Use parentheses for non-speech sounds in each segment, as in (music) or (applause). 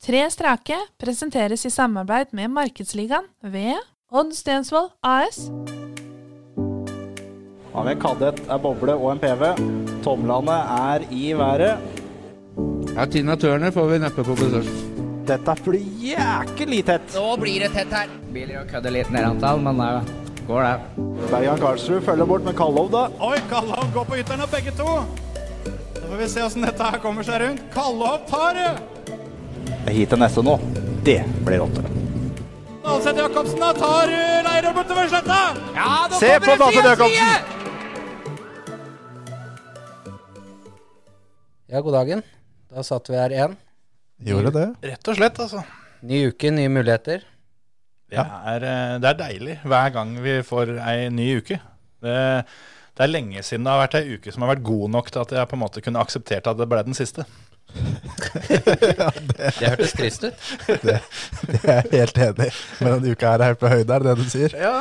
Tre strake presenteres i samarbeid med Markedsligaen ved Odd Stensvold AS. Har vi en kadett, en boble og en PV. Tomlene er i været. Ja, Tina Turner får vi neppe på besøk. Dette blir jækelig tett. Nå blir det tett her. Biler og kødder litt ned antall, men eh, det går det. Bergan Karlsrud følger bort med Kallov, da. Oi, Kallov går på ytteren av begge to. Da får vi se åssen dette her kommer seg rundt. Kallov tar det! Hit til neste nå. Det blir åtte. Dalseth Jacobsen da tar eh, Leirøy bortover sletta. Ja, da Se på Dalseth Jacobsen! Ja, god dagen. Da satt vi her igjen. Gjorde det. Rett og slett, altså. Ny uke, nye muligheter. Det er, eh, det er deilig hver gang vi får ei ny uke. Det, det er lenge siden det har vært ei uke som har vært god nok til at jeg på en måte kunne akseptert at det ble den siste. Det hørtes trist ut. Jeg er helt enig. Men denne uka her er helt på høyde, er det det du sier? Ja,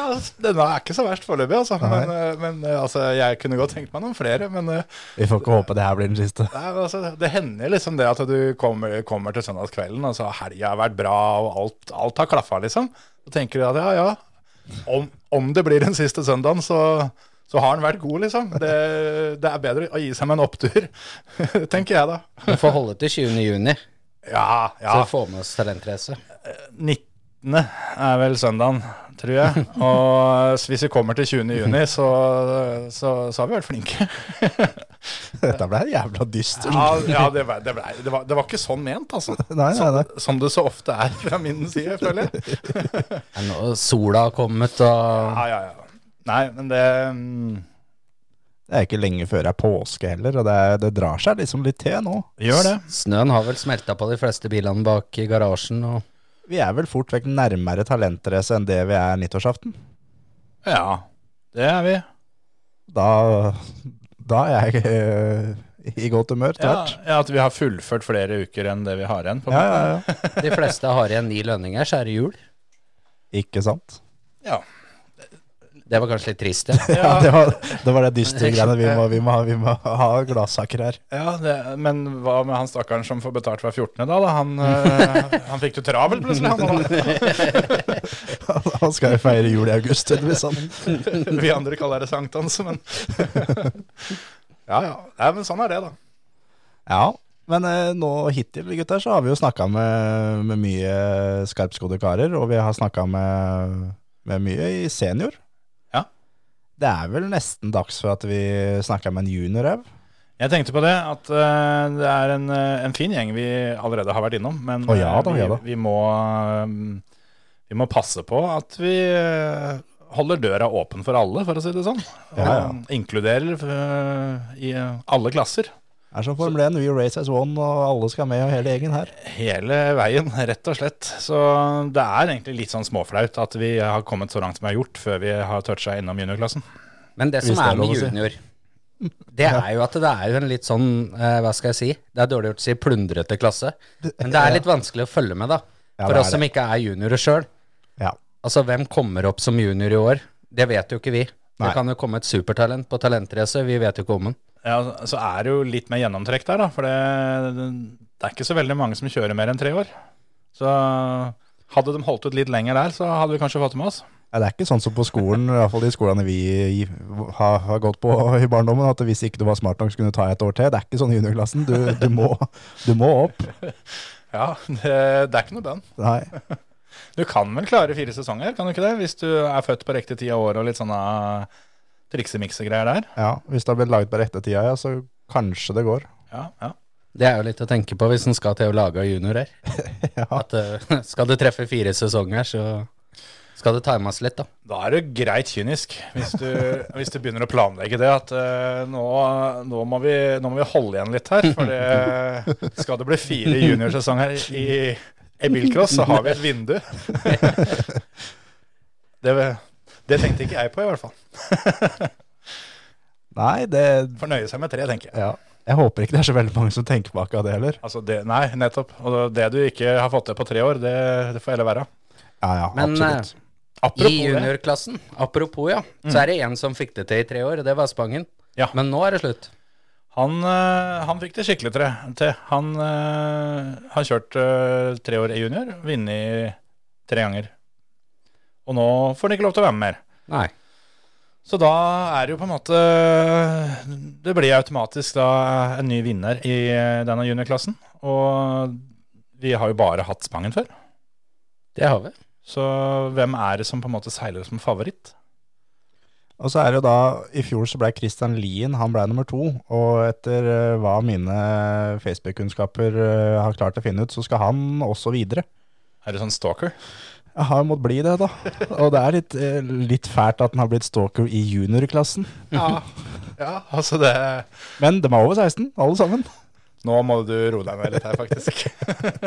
denne er ikke så verst foreløpig, altså. Nei. Men, eh, men eh, altså, jeg kunne godt tenkt meg noen flere. Men eh, Vi får ikke håpe det her blir den siste. Nei, men altså, det hender liksom det at du kommer, kommer til søndagskvelden, og så har helga vært bra, og alt, alt har klaffa, liksom. Så tenker du at ja, ja, om, om det blir den siste søndagen, så, så har den vært god, liksom. Det, det er bedre å gi seg med en opptur, (laughs) tenker jeg da. Vi får holde til 20. juni, Ja, ja. så få med oss talentrace. 19. er vel søndagen, tror (laughs) jeg. Og hvis vi kommer til 20. juni, så, så, så har vi vært flinke. (laughs) Dette ble jævla dyster. Ja, ja det, ble, det, ble, det, var, det var ikke sånn ment, altså. (laughs) Nei, nei, nei. Som det så ofte er fra min side, føler jeg. (laughs) Ja, nå sola har kommet, og Ja, ja, ja. Nei, men det mm, Det er ikke lenge før det er påske heller, og det, er, det drar seg liksom litt til nå. gjør det. snøen har vel smelta på de fleste bilene bak i garasjen. Og Vi er vel fort vekk nærmere talentrace enn det vi er nyttårsaften. Ja, det er vi. Da, da er jeg eh, i godt humør Ja, tvert. ja, At vi har fullført flere uker enn det vi har igjen. På Ja, en ja, ja. de fleste har igjen ni lønninger, så er det jul. Ikke sant? måte. ja. Det var kanskje litt trist, ja. Ja, det var det, var det dystre greiene. Vi må, vi må, ha- vi må ha gladsaker her. Ja, det, Men hva med han stakkaren som får betalt hver 14. da? da? Han, eh, han fikk det travelt plutselig. Han, (laughs) Han skal jo feire jul i august, tydeligvis. han. vi andre kaller det sankthans, men (laughs) Ja, ja. Nei, men sånn er det, da. Ja, men eh, nå hittil gutter så har vi jo snakka med, med mye skarpskodde karer, og vi har snakka med, med mye i senior. Ja. Det er vel nesten dags for at vi snakker med en junior òg. Jeg tenkte på det, at eh, det er en, eh, en fin gjeng vi allerede har vært innom. Men Å, ja eh, da, ja da. Vi, vi, må, eh, vi må passe på at vi eh, holder døra åpen for alle, for å si det sånn. Og Ja, ja. inkluderer eh, i eh, alle klasser. Er som Formel 1, We Race As One, og alle skal med, og hele gjengen her. Hele veien, rett og slett. Så det er egentlig litt sånn småflaut at vi har kommet så langt som vi har gjort, før vi har toucha innom juniorklassen. Men det som Hvis det er er med lov å si. junior, det er jo at det er jo en litt sånn, eh, hva skal jeg si, det er dårlig gjort å si plundrete klasse. Men det er litt vanskelig å følge med, da. Ja, For det er oss som ikke er juniorer sjøl. Ja. Altså, hvem kommer opp som junior i år? Det vet jo ikke vi. Nei. Det kan jo komme et supertalent på talentrace, vi vet jo ikke om den. Ja, Så er det jo litt mer gjennomtrekk der, da. For det, det er ikke så veldig mange som kjører mer enn tre år. Så hadde de holdt ut litt lenger der, så hadde vi kanskje fått det med oss. Ja, det er ikke sånn som på skolen, i hvert fall de skolene vi har, har gått på i barndommen, at hvis ikke du var smart nok, så kunne du ta et år til. Det er ikke sånn i juniorklassen. Du, du, må, du må opp. Ja, det, det er ikke noe bønn. Nei. (laughs) Du kan vel klare fire sesonger, kan du ikke det? Hvis du er født på riktig tid av året og litt sånne triksemikse-greier der. Ja, hvis det har blitt laget på rette tida, ja, så kanskje det går. Ja, ja. Det er jo litt å tenke på hvis en skal til å lage juniorer. (laughs) Ja. At eh, (laughs) skal du treffe fire sesonger, så skal det times litt, da. Da er du greit kynisk, hvis du, (laughs) hvis du begynner å planlegge det. At eh, nå, nå, må vi, nå må vi holde igjen litt her. For det, skal det bli fire juniorsesonger i, i bilcross, så har vi et vindu. (laughs) Det, det tenkte ikke jeg på, i hvert fall. Nei, det, Fornøye seg med tre, tenker jeg. Ja. Jeg håper ikke det er så veldig mange som tenker bak av det heller. Altså det, nei, nettopp. Og det du ikke har fått til på tre år, det, det får heller være. Ja, ja, Men, absolutt. Apropos I det. juniorklassen, apropos ja, så er det en som fikk det til i tre år, og det var Spangen. Ja. Men nå er det slutt. Han, eh, han fikk det skikkelig tre, til. Han, eh, han kjørte eh, tre år i junior, vunnet tre ganger. Og nå får han ikke lov til å være med mer. Nei. Så da er det jo på en måte eh, Det blir automatisk da en ny vinner i eh, denne juniorklassen. Og vi har jo bare hatt Spangen før. Det har vi. Så hvem er det som på en måte seiler som favoritt? Og så er det jo da, i fjor så ble Christian Lien, han ble nummer to, og etter eh, hva mine Facebook-kunnskaper eh, har klart å finne ut, så skal han også videre. Er det sånn stalker? Jeg har måttet bli det da, og det er litt, eh, litt fælt at han har blitt stalker i juniorklassen. Ja. altså det Men de er over 16, alle sammen. Nå må du roe deg ned litt her, faktisk.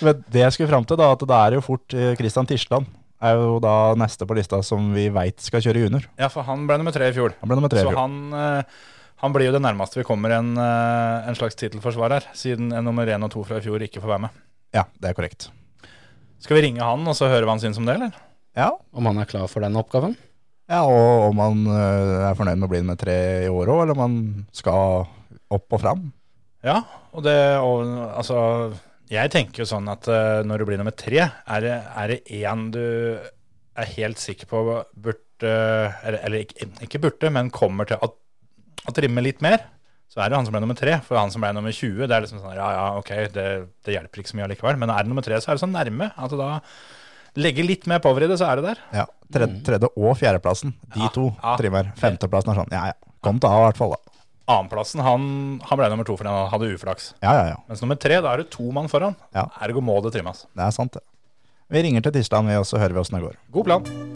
Men det jeg skulle fram til da, at det er jo fort eh, Christian Tisland, er jo da neste på lista som vi vet skal kjøre junior. (laughs) Ja, for han ble nummer tre i fjor. Han ble nummer tre. i Så fjor. han, eh, han blir jo det nærmeste vi kommer en, eh, en slags tittelforsvarer, siden en nummer én og to fra i fjor ikke får være med. Ja, det er korrekt. Skal vi ringe han og så høre hva han syns om det, eller? Ja, Om han er klar for den oppgaven? Ja, og om han eh, er fornøyd med å bli nummer tre i år òg, eller om han skal opp og fram. Ja, og det og, Altså, jeg tenker jo sånn at eh, når du blir nummer tre, er det, er det én du er helt sikker på burde Eller, eller ikke, ikke burde, men kommer til å, å trimme litt mer, så er det han som ble nummer tre. For han som ble nummer 20, det er liksom sånn ja, ja, ok, det, det hjelper ikke så mye allikevel. Men er det nummer tre, så er det så nærme at da legger litt mer power i det, så er det der. Ja, tredje, tredje- og fjerdeplassen. De Mm. Ja, to ja. trimmer. Femteplassen er sånn, ja ja. Kom til A i hvert fall, da. Annenplassen, han, han ble nummer to fordi han hadde uflaks. Ja ja ja. Mens nummer tre, da er det to mann foran. Ja. Ergo må det trimmes. Det er sant, det. Vi ringer til Tisland, vi, og så hører vi åssen det går. God plan.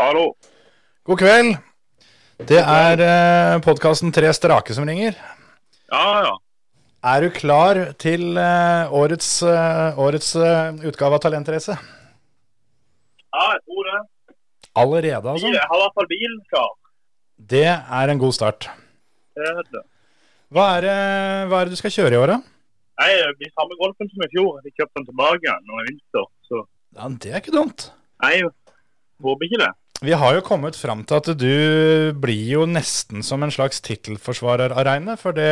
Hallo. God kveld. Det er eh, podkasten Tre strake som ringer. Ja, ja. Er du klar til eh, årets, eh, årets eh, utgave av Talentrace? Ja, jeg tror det. Allerede, altså? Jeg har i hvert fall bilen klar. Det er en god start. Det heter det. Hva er, det, hva er det du skal kjøre i år, da? Nei, det blir samme golfen som i fjor. Jeg kjøpte den tilbake igjen nå i vinter. Så Ja, det er ikke dumt. nei, jeg håper ikke det. Vi har jo kommet fram til at du blir jo nesten som en slags tittelforsvarer av regnet. For det,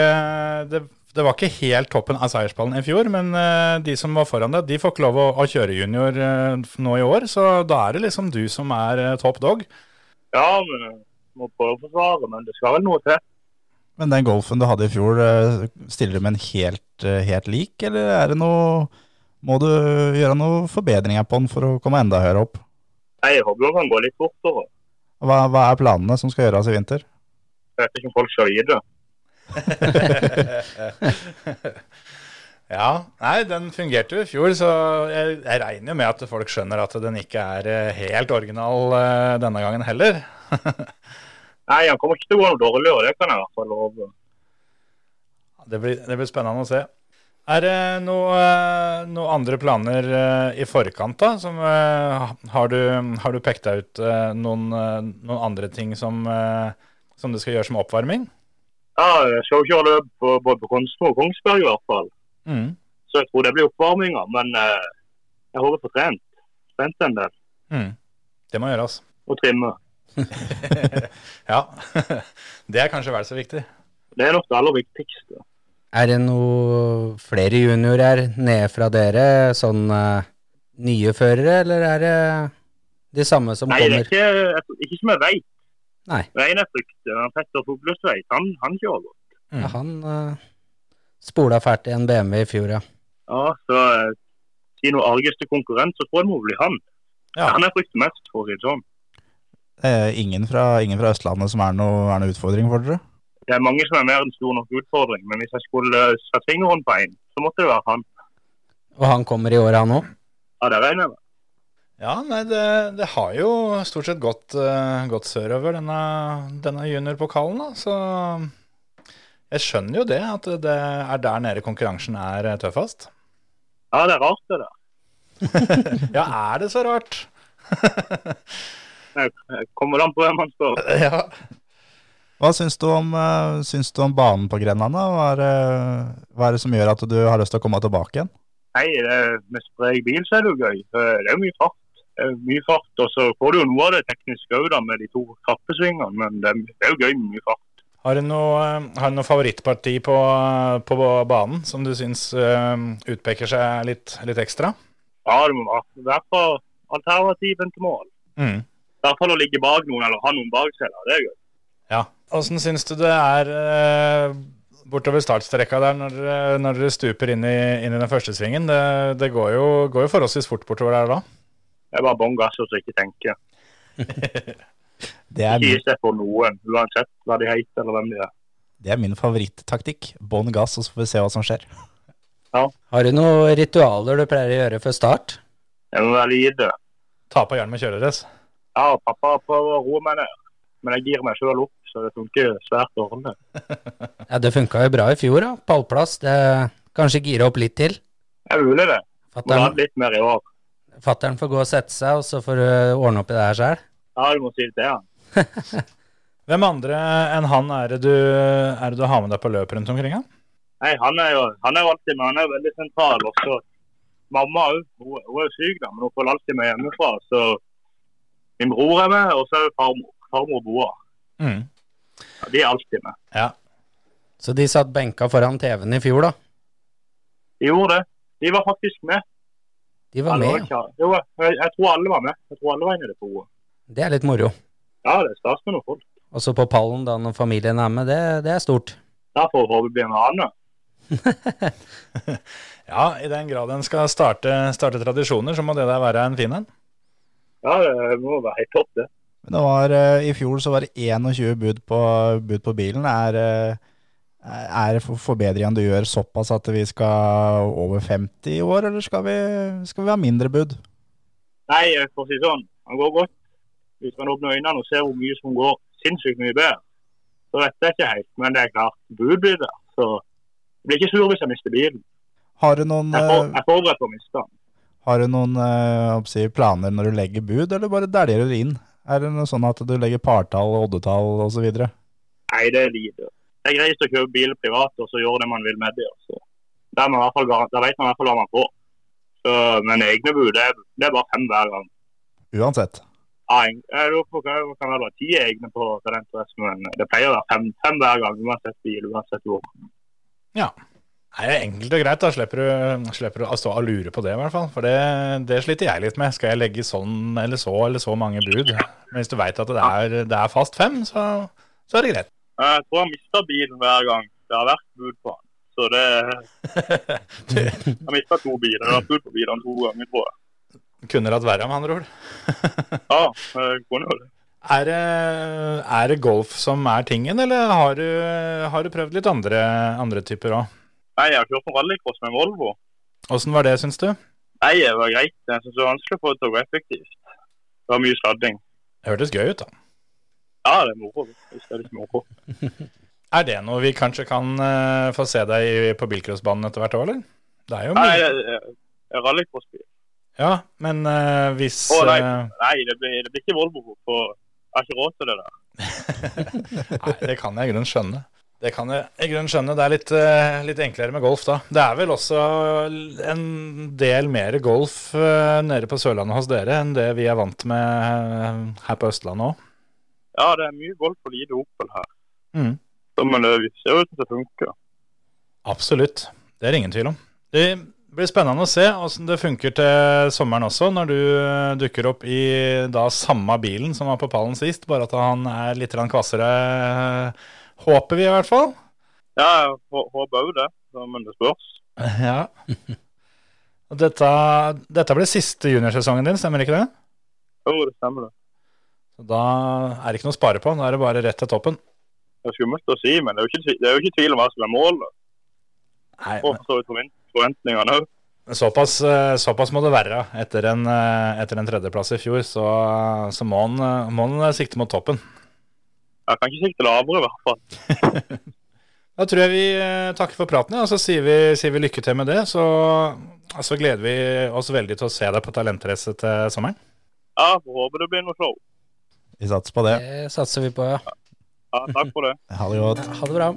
det, det var ikke helt toppen av seierspallen i fjor, men eh, de som var foran deg, de får ikke lov å, å kjøre junior eh, nå i år. Så da er det liksom du som er eh, top dog. Ja, men jeg må prøve å forsvare, men det skal vel noe til. Men den golfen du hadde i fjor, eh, stiller du med en helt, eh, helt lik, eller er det noe Må du gjøre noen forbedringer på den for å komme enda høyere opp? Nei, jeg håper jo han går litt fortere. Hva, hva er planene som skal gjøres i vinter? Jeg vet ikke om folk skal vite. (laughs) Ja, nei, den fungerte jo i fjor, så jeg, jeg regner jo med at folk skjønner at den ikke er eh, helt original eh, denne gangen heller. (laughs) Nei, han kommer ikke til å gå noe dårligere, det kan jeg i hvert fall love. Det blir, det blir spennende å se. Er det noen noe andre planer eh, i forkant, da? Som, eh, har, du, har du pekt deg ut eh, noen, eh, noen andre ting som, eh, som du skal gjøre som oppvarming? Ja, jeg skal jo kjøre løp på- både på Konsten og Kongsberg i hvert fall. Mm. Så jeg tror det blir oppvarminga, men eh, jeg håper på trent. Trent en del. Mm. Det må gjøres. (laughs) Og trimme. Ja. (laughs) det er kanskje vel så viktig. Det er nok det aller viktigste. Er det noe flere juniorer nede fra dere, sånn eh, nye førere, eller er det de samme som Nei, det er kommer? ikke, jeg tror- ikke som jeg vet. Nei. Veien jeg frykter, han Petter Fugløs vet, han, han kjører. godt. Ja, han eh, spola fælt i en BMW i fjor, ja. Ja, så eh, si noe argeste konkurrent, så tror jeg det må bli han. Ja. Han jeg frykter mest, for å si det sånn. Eh, ingen, fra, ingen fra Østlandet som er noe, er noe utfordring for dere? Det er mange som er mer enn stor nok utfordring, men hvis jeg skulle eh, satt fingeren på en, så måtte det være han. Og han kommer i år, han òg. Ja, det regner jeg med. Ja, nei, det, det har jo stort sett gått, eh, gått sørover, denne, denne juniorpokalen. da, Så jeg skjønner jo det, at det er der nede konkurransen er eh, tøffest. Ja, det er rart det der. Ja, er det så rart? (laughs) Jeg Kommer an på hvem han spør. Ja. Hva syns du om, eh, syns du om banen på Grenland? da? Hva er, eh, hva er det som gjør at du har lyst til å komme tilbake igjen? Hei, eh, med sprek bil så er det jo gøy. Eh, Det er jo mye fart. Det er mye fart, Og så får du jo noe av det tekniske òg, med de to krappesvingene. Men det er- det er jo gøy med mye fart. Har du noe, eh, har du noe favorittparti på, eh, på banen som du syns eh, utpeker seg litt, litt ekstra? Ja, det må være. I hvert fall alternativen til mål. Mm. I hvert fall å ligge bak noen eller ha noen bak seg. da. Det er gøy. Ja. Åssen syns du det er eh, bortover startstreka der når, eh, når dere stuper inn i, inn i den første svingen? Det, det går, jo, går jo forholdsvis fort bortover der da. Det er bare bånn gass og så ikke tenke. Det er Ikke min, gi seg for noen, uansett hva de heter eller hvem de er. det er min favorittaktikk. Bånn gass, og så får vi se hva som skjer. Har du noen ritualer du pleier å gjøre før start? Jeg må være lite. Ta på hjelm og kjøre deres. Ja, pappa prøver å roe meg ned, men jeg gir meg sjøl opp, så det funker svært dårlig. Ja, det funka jo bra i fjor, da. Pallplass. Det kanskje gire opp litt til. Det er mulig, det. Må ha Fatter'n litt mer i år. Fatteren får gå og sette seg, og så får du ordne opp i det her sjøl. Ja, du må si det til han. Hvem andre enn han er det du, er det du har med deg på løp rundt omkring? da? Nei, han er jo han er jo alltid med. Han er jo veldig sentral. Og så mamma òg. Hun, hun er jo syk, da, men hun får alltid med hjemmefra. Så min bror er med, og så er det farmor. Farmor og bror. Mm. Ja, de er alltid med. Så de satt benka foran TV-en i fjor, da. De gjorde det. De var faktisk med. De var Alle var med. ja. ikke, jo, jeg, jeg tror alle var med. Jeg tror alle var inne i det bordet. Det er litt moro. Ja, det er stas med noen folk. Og så på pallen da når familien er med, det, det er stort. Derfor håper vi blir en annen. Ja, i den grad en skal starte, starte tradisjoner, så må det der være en fin en. Ja, det må være helt topp, det. Men det var, eh, I fjor så var det 21 bud på, bud på bilen. Er, eh, er for- forbedringen du gjør såpass at vi skal over 50 i år, eller skal vi, skal vi ha mindre bud? Nei, for å si sånn, han går godt. Hvis man åpner øynene og ser hvor mye som går sinnssykt mye bedre, så vet jeg ikke helt. Men det er klart, bud blir der. Så jeg blir ikke sur hvis jeg mister bilen. Har du noen, Jeg for- eh, jeg er forberedt på å miste den. har du noen eh, hva skal jeg si, planer når du legger bud, eller bare dæljer du det inn? Er det noe sånn at du legger partall, oddetall osv.? Nei, det er lite. Det er greit å kjøpe bil privat og så gjøre det man vil med det. Altså. Da, er man i hvert fall garan- da vet man i hvert fall hva man får. Så, men egne bud, det er, det er bare fem hver gang. Uansett. Ja, en- Jeg lurer på hva hva kan det være ti egne på til den interessen, men det pleier å være fem, fem hver gang, uansett bil, uansett hvor. Nei, det er enkelt og greit. Da slipper du, slipper du altså, å stå og lure på det, i hvert fall. For det, det sliter jeg litt med. Skal jeg legge sånn eller så eller så mange bud? Men hvis du veit at det er, det er fast fem, så, så er det greit. Jeg tror han mister bilen hver gang det har vært bud på han. Så det, Han mista to biler. Det har vært bud på bilene to ganger, tror jeg. (laughs) Kunne hatt verre, med andre ord. (laughs) Ja, jeg kunne jo det. Er det, er det golf som er tingen, eller har du, har du prøvd litt andre, andre typer òg? Nei, jeg har kjørt på rallycross med en Volvo. Åssen var det, syns du? Nei, det var greit. Jeg synes det var vanskelig å få det til å gå effektivt. Det var mye sladding. Det hørtes gøy ut, da. Ja, det er moro. Hvis det er litt moro. Er det noe vi kanskje kan eh, få se deg i, på bilcrossbanen etter hvert år, eller? Det er jo Nei, mye. det er- det er rallycrossbil. Ja, men eh, hvis Å, nei. eh, Nei, det blir, det blir ikke Volvo. For jeg har ikke råd til det der. Nei, det kan jeg i grunnen skjønne. Det kan jeg i grunnen skjønne. Det er litt, eh, litt enklere med golf da. Det er vel også en del mer golf eh, nede på Sørlandet hos dere enn det vi er vant med eh, her på Østlandet òg. Ja, det er mye golf og lite Opel her. Mm. Så, men det ser ut som det funker. Absolutt. Det er det ingen tvil om. Det blir spennende å se åssen det funker til sommeren også, når du eh, dukker opp i da samme bilen som var på pallen sist, bare at han er litt grann kvassere, eh, håper vi i hvert fall. Ja, jeg hå- håper òg det. så- Men det spørs. Ja. Og dette, dette blir siste juniorsesongen din, stemmer ikke det? Jo, det stemmer, det. Så da er det ikke noe å spare på, da er det bare rett til toppen. Det er skummelt å si, men det er jo ikke, tvi- det er jo ikke tvil om hva som er målet. Nei, Og for så vidt forvent- forventningene òg. men såpass, eh, såpass må det være. Etter en, eh, etter en tredjeplass i fjor, så, så må han, eh, må han eh, sikte mot toppen. Jeg kan ikke sikte lavere, i hvert fall. Da tror jeg vi eh, takker for praten, ja, og så sier vi, sier vi lykke til med det. Så, så gleder vi oss veldig til å se deg på Talentrace til sommeren. Ja, får håpe det blir noe show. Vi satser på det. Det satser vi på, ja. Ja, takk for det. Ha det godt. Ha det bra.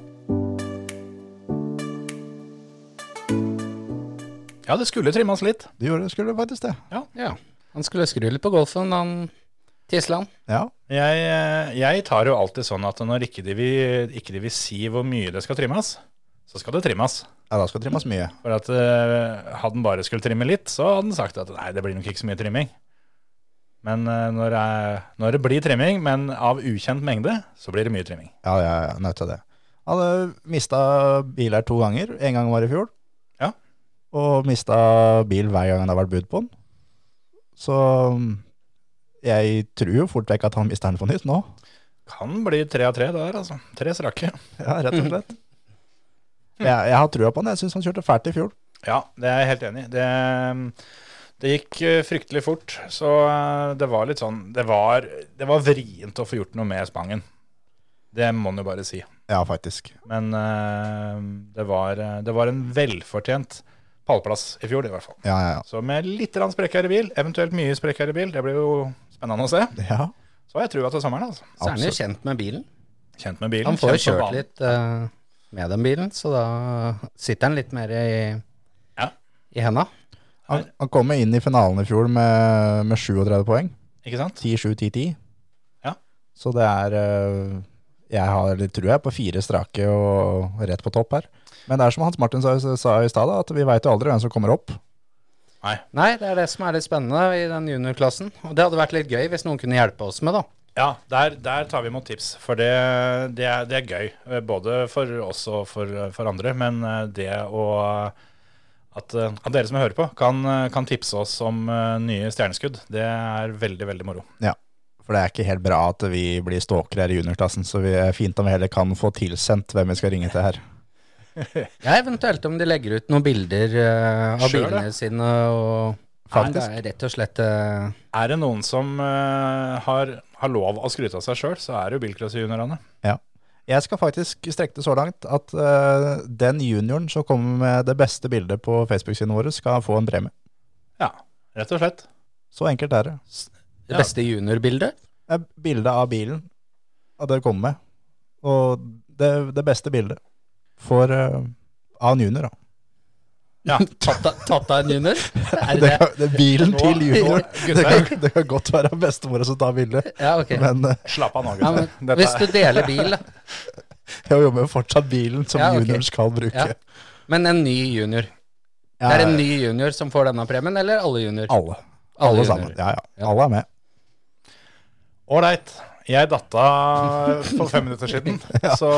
Ja, det skulle trimmes litt. Det gjorde, skulle det faktisk det. Ja. Han skulle skru litt på golfen, han Tisland. Ja. Jeg, eh, jeg tar jo alltid sånn at når ikke de, vil, ikke de vil si hvor mye det skal trimmes, så skal det trimmes. ja, da skal det trimmes mye. For at eh, hadde den bare skulle trimme litt, så hadde den sagt at nei, det blir nok ikke så mye trimming. Men eh, når, jeg, når det blir trimming, men av ukjent mengde, så blir det mye trimming. Ja, jeg er nødt til det. Han hadde mista biler to ganger. En gang var i fjor. Ja. Og mista bil hver gang det har vært bud på den. Så mm, jeg tror jo fort vekk at han mister den på nytt nå. Kan bli tre av tre der, altså. Tre strake. Ja, rett og slett. (laughs) Jeg, jeg har trua på han. Jeg syns han kjørte fælt i fjor. Ja, det er jeg helt enig i. Det, det gikk eh, fryktelig fort, så eh, det var litt sånn Det var, det var vrient å få gjort noe med Spangen. Det må en jo bare si. Ja, faktisk. Men eh, det, var, eh, det var en velfortjent pallplass i fjor, i hvert fall. Ja, ja, Så med litt grann sprekkere bil, eventuelt mye sprekkere bil, det blir jo spennende å se. ja. ja. Så har jeg trua til sommeren. altså. Så er han jo kjent med bilen. Kjent med bilen. Han får jo kjent med kjørt banen. litt eh, med den bilen, så da sitter han litt mer i, Ja. i henda. Han, han kom inn i finalen i fjor med, med 37 poeng. Ikke sant? 10-7-10-10. Ja. Så det er eh, Jeg har litt trua på fire strake og rett på topp her. Men det er som Hans Martin sa, sa i stad, da, at vi veit jo aldri hvem som kommer opp. Nei, det er det som er litt spennende i den juniorklassen. Og det hadde vært litt gøy hvis noen kunne hjelpe oss med, da. Ja, der, der tar vi imot tips, for det, det, er, det er gøy. eh, Både for oss og for, for andre. Men eh, det å at, eh, at dere som hører på, kan, eh, kan tipse oss om eh, nye stjerneskudd, det er veldig, veldig moro. For det er ikke helt bra at vi blir stalkere her i juniorklassen, så vi er fint om vi heller kan få tilsendt hvem vi skal ringe til her. Ja, eventuelt om de legger ut noen bilder eh, av Sjøl, bilene sine og Faktisk. Nei, det er rett og slett eh, Er det noen som eh, har, har lov å skryte av seg sjøl, så er det jo bilklassejuniorene. Jeg skal faktisk strekke det så langt at eh, den junioren som kommer med det beste bildet på Facebook-siden vår, skal få en premie. Ja, rett og slett. Så enkelt er det. det Ja. beste juniorbildet. Det er bildet av bilen at dere kommer med. Og det, det beste bildet for eh, av en junior, da. Ja, Tatt av- tatt av en junior. Er Det, det kan, det er bilen Nå- til junior. Det Gutter, kan, det kan godt være bestemora som tar bildet, Ja, ok. men eh, slapp av nå, Ja, gutter. men, Dette hvis du deler bil, da. jeg jobber jo fortsatt bilen som Ja, ok. junior skal bruke. Ja. Men en ny junior. Det er en ny junior som får denne premien, eller alle junior? Alle. Alle Alle junior. sammen. Ja, ja. Alle er med. Ålreit. Jeg datta for fem minutter (laughs) siden, så,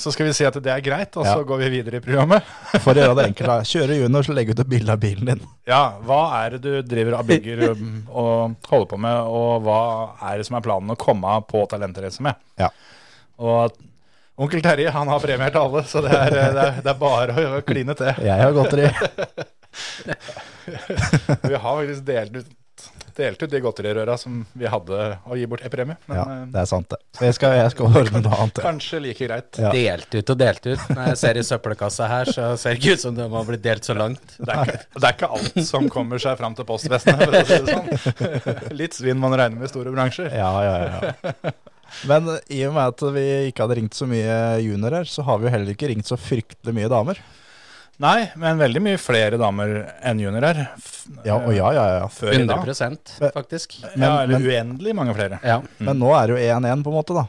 så skal vi si at det er greit, og så Ja. går vi videre i programmet. For å gjøre det enkelt, da. Kjøre junior, så legge ut et bilde av bilen din. Ja, hva er det du driver og (laughs) bygger um, og holder på med, og hva er det som er planen å komme på talentreise med? Ja. Og onkel Terje, han har premiert alle, så det er, det er, det er bare å kline til. Jeg har godteri. Vi har faktisk delt ut Delt ut de godterirøra som vi hadde å gi bort i premie. Men Ja, eh, det er sant, det. Jeg skal, jeg skal ordne noe annet. jeg. kanskje like greit. Ja. Delt ut og delt ut. Når jeg ser i søppelkassa her, så ser det ikke ut som de har blitt delt så langt. Det er, ikke, det er ikke alt som kommer seg fram til postvestene. For å si det sånn. Litt svinn man regner med i store bransjer. Ja, ja, ja. (laughs) Men eh, i og med at vi ikke hadde ringt så mye juniorer, så har vi jo heller ikke ringt så fryktelig mye damer. Nei, men veldig mye flere damer enn juniorer. f- eh, Ja, og ja, ja, ja. Før i dag. 100 faktisk. ja, men- eller men- uendelig mange flere. Ja. Mm. Men nå er det jo 1-1 på en måte, da.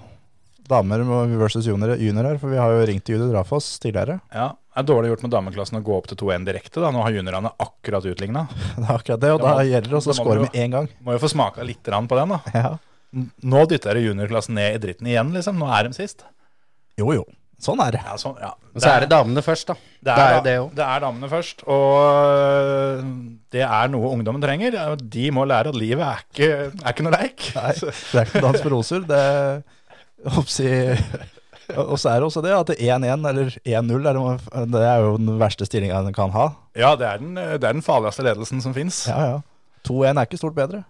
Damer versus juniorer, juniorer for vi har jo ringt Jude Drafoss tidligere. (laughs) Ja, Det er dårlig gjort med dameklassen å gå opp til 2-1 direkte. da. Nå har juniorene akkurat utligna. Det er akkurat det, og Da da må- gjelder det også å da må score du- med én gang. (laughs) Må jo få smaka litt grann på den. da. Ja. N- Nå dytter dere juniorklassen ned i dritten igjen, liksom. Nå er de sist. Jo, jo. Sånn er det. Ja, sånn, ja. Og så er det damene først, da. Det Det er er, jo det også. det er damene først, og øh, det er noe ungdommen trenger. De må lære at livet er ikke, er ikke noe leik. Nei, det er ikke dans på roser. Det (laughs) er, oppsi, og så er det også det at 1-1 eller 1-0 er det- det er jo den verste stillinga en kan ha. Ja, det er den, det er den farligste ledelsen som fins. Ja, ja. 2-1 er ikke stort bedre.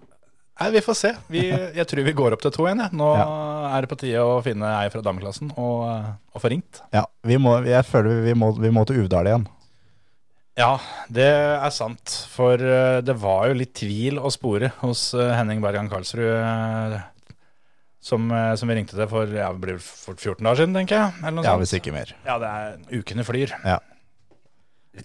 Nei, Vi får se. Vi, jeg tror vi går opp til 2-1. jeg. Nå er det på tide å finne ei fra dameklassen og, øh, og få ringt. Ja, vi må, jeg føler vi må, vi må til Uvdal igjen. Ja, det er sant. For eh, det var jo litt tvil å spore hos eh, Henning Bergan Karlsrud, eh, som, eh, som vi ringte til for ja, det blir vel for 14 dager siden, tenker jeg. Eller noe Ja, sånt. hvis ikke mer. Ja, det er ukene flyr.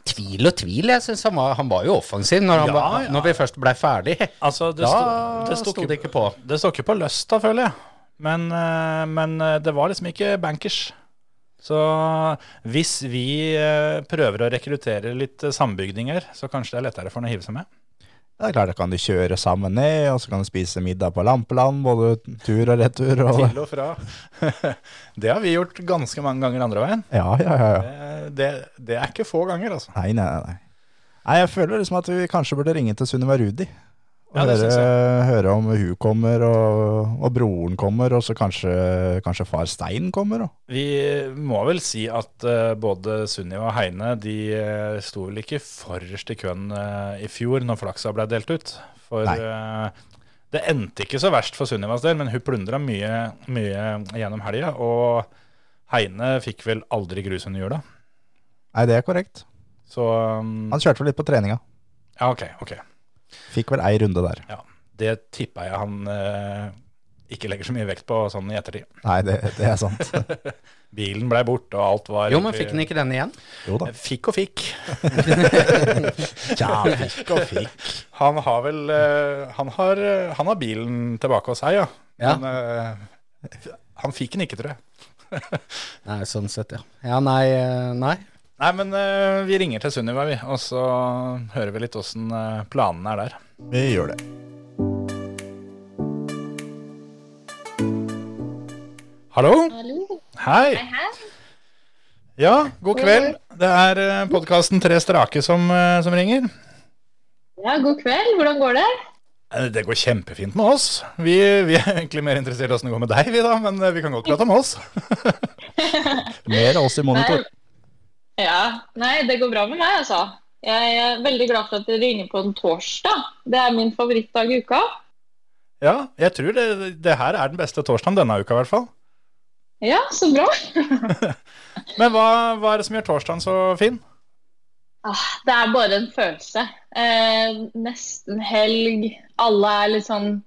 Tvil og tvil. Jeg synes han, var, han var jo offensiv når, han Ja, var, ja. når vi først blei ferdig. Altså, det, Da sto, det, sto sto det ikke, ikke på. det sto ikke på løsta, føler jeg. Men, eh, men eh, det var liksom ikke bankers. Så hvis vi eh, prøver å rekruttere litt eh, sambygdinger, så kanskje det er lettere for han å hive seg med. Det er klart, da kan du kjøre sammen ned, og så kan du spise middag på Lampeland, både tur og retur. Og, Til og fra. (laughs) det har vi gjort ganske mange ganger andre veien. ja, ja, ja, ja. Eh, Det, det er ikke få ganger, altså. Nei, nei, nei. Nei, jeg føler liksom at vi kanskje burde ringe til Sunniva Rudi. Og Ja, det synes høre, høre om hun kommer, og, og broren kommer, og så kanskje, kanskje far Stein kommer. Og. Vi må vel si at eh, både Sunniva og Heine de eh, sto vel ikke forrest i køen eh, i fjor når flaksa ble delt ut. For Nei. eh, det endte ikke så verst for Sunnivas del, men hun plundra mye, mye gjennom helga. Og Heine fikk vel aldri grus under hjula. Nei, det er korrekt. Så um, Han kjørte vel litt på treninga. Ja, OK. ok. Fikk vel ei runde der. Det tippa jeg han eh, ikke legger så mye vekt på sånn i ettertid. Nei, det, det er sant. Bilen blei borte, og alt var Eh, Jo, men fikk han ikke den igjen? Jo da. Fikk og fikk. (laughs) Ja, fikk og fikk. Han har vel eh, han har, eh, han har bilen tilbake hos seg, ja. Ja. Men eh, han fikk den ikke, tror jeg. Nei, sånn sett, ja. Ja, nei, eh, nei. Nei, men eh, vi ringer til Sunniva, vi. Og så hører vi litt åssen eh, planene er der. Vi gjør det. Hallo? Hallo. Hei, Hei. hei. Ja, god kveld. Det er eh, podkasten Tre strake som, eh, som ringer. Ja, god kveld. Hvordan går det? Eh, Det går kjempefint med oss. Vi, vi er egentlig mer interessert i åssen det går med deg, vi da, men eh, vi kan godt prate om oss. Mer oss i monitor. Nei, ja. Nei, det går bra med meg, altså. Jeg er veldig glad for at dere ringer på en torsdag. Det er min favorittdag i uka. Ja, jeg tror det, det her er den beste torsdagen denne uka, i hvert fall. Ja, så bra. Men hva, hva er det som gjør torsdagen så fin? (laughs) Ah, Det er bare en følelse. Eh, nesten helg. Alle er litt sånn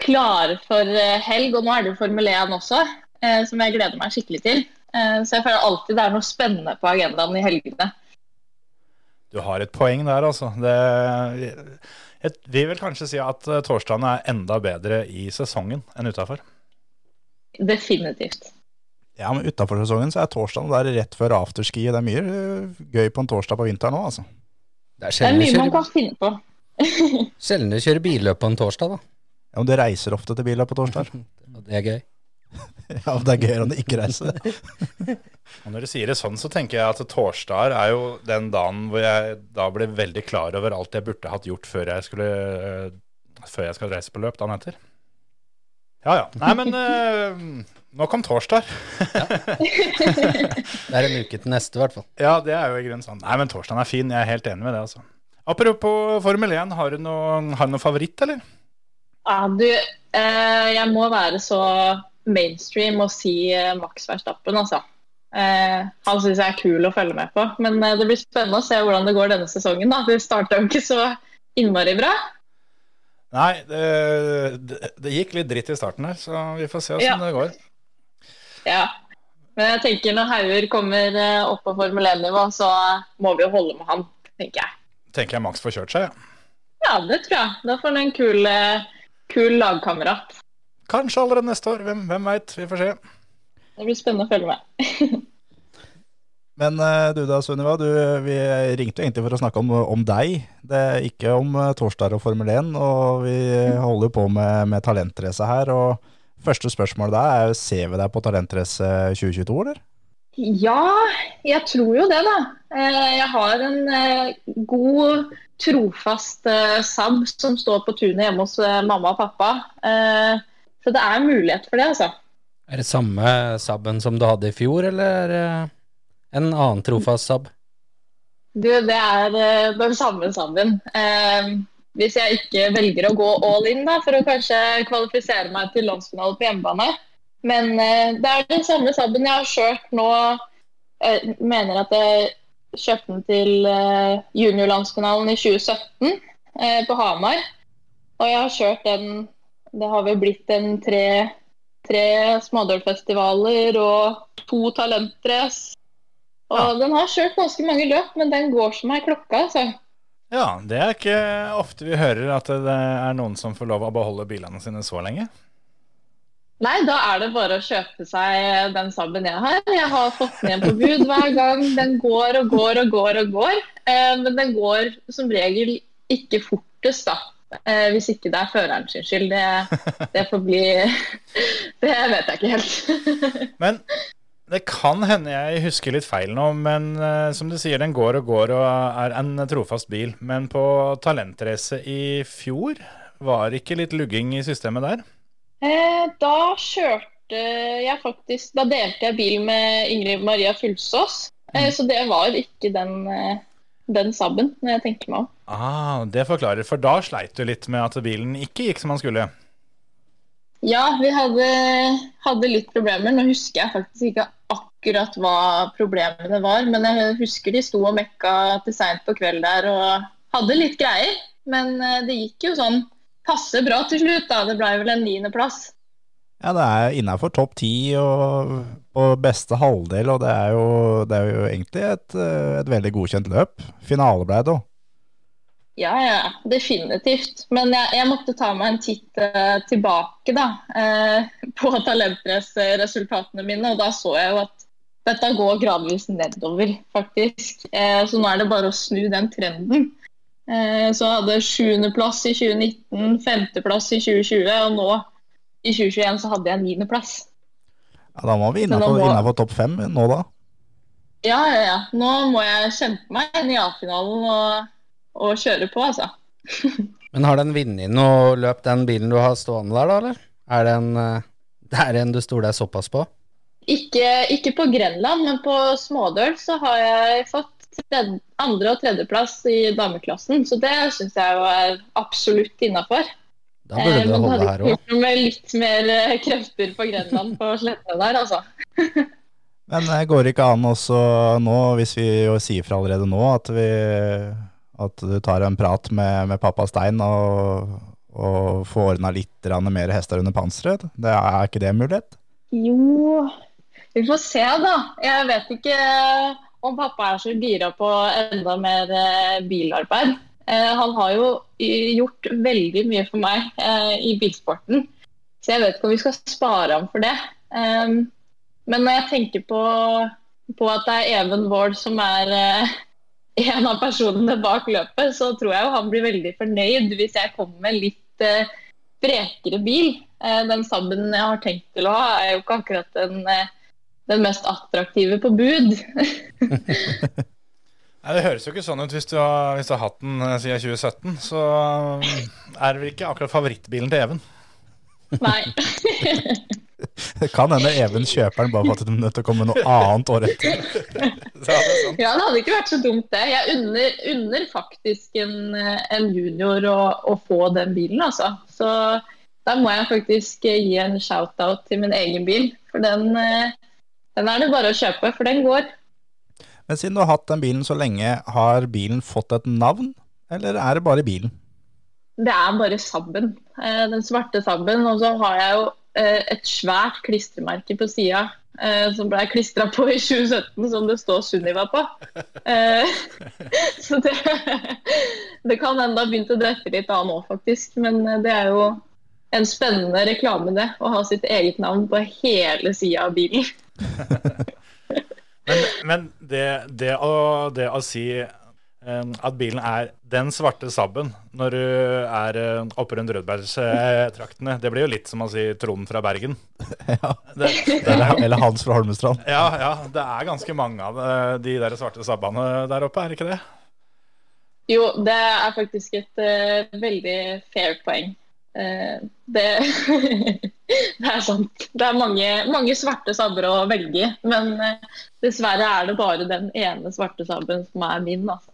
klare for eh, helg, og nå er det jo Formel 1 også, eh, som jeg gleder meg skikkelig til. Eh, så jeg føler alltid det er noe spennende på agendaen i helgene. Du har et poeng der, altså. Det, jeg vil vel kanskje si at eh, torsdagene er enda bedre i sesongen enn utafor. Definitivt. Ja, men utafor sesongen så er torsdagen der rett før afterski. Det er mye øh, gøy på en torsdag på vinteren òg, altså. Det er Det er sjelden du mye man kjører, kan finne på. sjelden du kjører billøp på en torsdag, da. Ja, men det reiser ofte til biler på torsdager. Og det er gøy. Ja, men det er gøyere om det ikke reiser. Og når du sier det sånn, så tenker jeg at torsdager er jo den dagen hvor jeg da blir veldig klar over alt jeg burde hatt gjort før jeg skulle eh, før jeg skal reise på løp dagen etter. Ja ja. Nei, men eh, nok om torsdag. Det er en uke til neste, i hvert fall. Ja, det er jo i grunnen sånn. Nei, men torsdagen er fin. Jeg er helt enig med det, altså. Apropos Formel 1, har du noen noe favoritt, eller? Ja, du, eh, jeg må være så mainstream og si eh, Max Verstappen, altså. Eh, han syns jeg er kul å følge med på. Men eh, det blir spennende å se hvordan det går denne sesongen. da. Det starta jo ikke så innmari bra. Nei, det, det, det gikk litt dritt i starten her, så vi får se åssen Ja. det går. Ja. Men jeg tenker når Hauger kommer eh, opp på Formel 1-nivå, så må vi jo holde med han, tenker jeg. Tenker jeg Max får kjørt seg, ja. Ja, det tror jeg. Da får han en kul, eh, kul lagkamerat. Kanskje allerede neste år, hvem, hvem veit. Vi får se. Det blir spennende å følge med. Men eh, du da, Sunniva. Du, vi ringte jo egentlig for å snakke om, om deg. Det er ikke om eh, torsdager og Formel 1. Og vi Mm. holder jo på med, med talentrace her. Og første spørsmål der er jo ser vi deg på talentrace 2022, eller? Ja, jeg tror jo det, da. Eh, Jeg har en eh, god, trofast eh, sab som står på tunet hjemme hos eh, mamma og pappa. Eh, Så det er en mulighet for det, altså. Er det samme sabben som du hadde i fjor, eller eh, en annen trofast sab? Du, det er eh, den samme sabben. Eh, Hvis jeg ikke velger å gå all in da, for å kanskje kvalifisere meg til landsfinale på hjemmebane. Men eh, det er den samme sabben jeg har kjørt nå. Jeg mener at jeg kjøpte den til eh, juniorlandsfinalen i 2017 eh, på Hamar. Og jeg har kjørt den Det har vel blitt en tre, tre smådølfestivaler og to talentrace. Og den har kjørt ganske mange løp, men den går som ei klokke, altså. Ja, det er ikke ofte vi hører at det er noen som får lov å beholde bilene sine så lenge. Nei, da er det bare å kjøpe seg den Saben jeg har. Jeg har fått den igjen på bud hver gang. Den går og går og går og går. Eh, men den går som regel ikke fortest, da. Eh, hvis ikke det er føreren sin skyld. Det, det får bli (laughs) Det vet jeg ikke helt. (laughs) Men det kan hende jeg husker litt feil nå, men eh, som du sier, den går og går og er en trofast bil. Men på talentrace i fjor var det ikke litt lugging i systemet der? Eh, da kjørte jeg faktisk Da delte jeg bil med Ingrid Maria Fulsås. Eh, Så det var ikke den, eh, den sabben, når jeg tenker meg om. Ah, det forklarer, for da sleit du litt med at bilen ikke gikk som den skulle. Ja, vi hadde, hadde litt problemer. Nå husker jeg faktisk ikke akkurat hva problemene var, men jeg husker de sto og mekka til seint på kveld der og hadde litt greier. Men eh, det gikk jo sånn passe bra til slutt, da. Det blei vel en niendeplass. Ja, det er innafor topp ti og på beste halvdel, og det er jo, det er jo egentlig et, eh, et veldig godkjent løp. Finale ble det òg. Ja, ja, definitivt. Men jeg, jeg måtte ta meg en titt eh, tilbake da, eh, på talentrace-resultatene mine, og da så jeg jo at dette går gradvis nedover, faktisk. Eh, så nå er det bare å snu den trenden. Eh, så jeg hadde sjuendeplass i 2019, femteplass i 2020, og nå i 2021 så hadde jeg niendeplass. Ja, da må vi Men da innafor må- innafor topp fem nå, da. Ja, ja, ja. Nå må jeg kjempe meg inn i A-finalen og, og kjøre på, altså. Men har den vunnet noe løp, den bilen du har stående der, da, eller? Er det en, eh, det er en du stoler deg såpass på? Ikke, ikke på Grenland, men på Smådøl så har jeg fått tredje, andre- og tredjeplass i dameklassen. Så det syns jeg jo er absolutt innafor. Da Eh, burde det holde her òg. Med litt mer eh, krefter på Grenland på sletta der, altså. Men det går det ikke an også nå, hvis vi jo sier fra allerede nå, at, vi, at du tar en prat med, med pappa Stein og, og får ordna litt grann mer hester under panseret? Det er ikke det en mulighet? Jo Vi får se, da. Jeg vet ikke eh, om pappa er så gira på enda mer eh, bilarbeid. Eh, Han har jo i- gjort veldig mye for meg eh, i bilsporten, så jeg vet ikke om vi skal spare ham for det. Ehm, Men når jeg tenker på, på at det er Even Wold som er eh, (laughs) en av personene bak løpet, så tror jeg jo han blir veldig fornøyd hvis jeg kommer med litt eh, brekere bil. Eh, Den Saben jeg har tenkt til å ha, er jo ikke akkurat den, eh, den mest attraktive på bud. (laughs) Nei, Det høres jo ikke sånn ut hvis du har, hvis du har hatt den eh, siden 2017. Så eh, er det vel ikke akkurat favorittbilen til Even. Nei. (laughs) Det kan hende Even kjøper den bare for at det er nødt til å komme noe annet året (laughs) etter. Ja, det hadde ikke vært så dumt, det. Jeg unner, unner faktisk en, eh, en junior å, å få den bilen, altså. Så da må jeg faktisk eh, gi en shout-out til min egen bil. For den, eh, den er det bare å kjøpe, for den går. Men siden du har hatt den bilen så lenge, har bilen fått et navn, eller er det bare bilen? Det er bare sabben. Eh, Den svarte sabben. Og så har jeg jo eh, et svært klistremerke på sida eh, som ble klistra på i (laughs) 2017, som det står Sunniva på. Eh, (laughs) Så det, (laughs) det kan enda ha begynt å dette litt av nå, faktisk. Men eh, det er jo en spennende reklame, det. Å ha sitt eget navn på hele sida av bilen. Men, men det, det, å, det å si eh, at bilen er den svarte sabben når du er eh, oppe rundt Rødbergstraktene, det blir jo litt som å si Trond fra (laughs) Bergen. Det, Eller, eller Hans fra Holmestrand? ja, ja, det er ganske mange av eh, de der svarte sabbene der oppe, er det ikke det? Jo, det er faktisk et eh, veldig fair poeng. Eh, det, (laughs) det er sant. Det er mange, mange svarte sabber å velge i. Men eh, dessverre er det bare den ene svarte sabben som er min. Altså.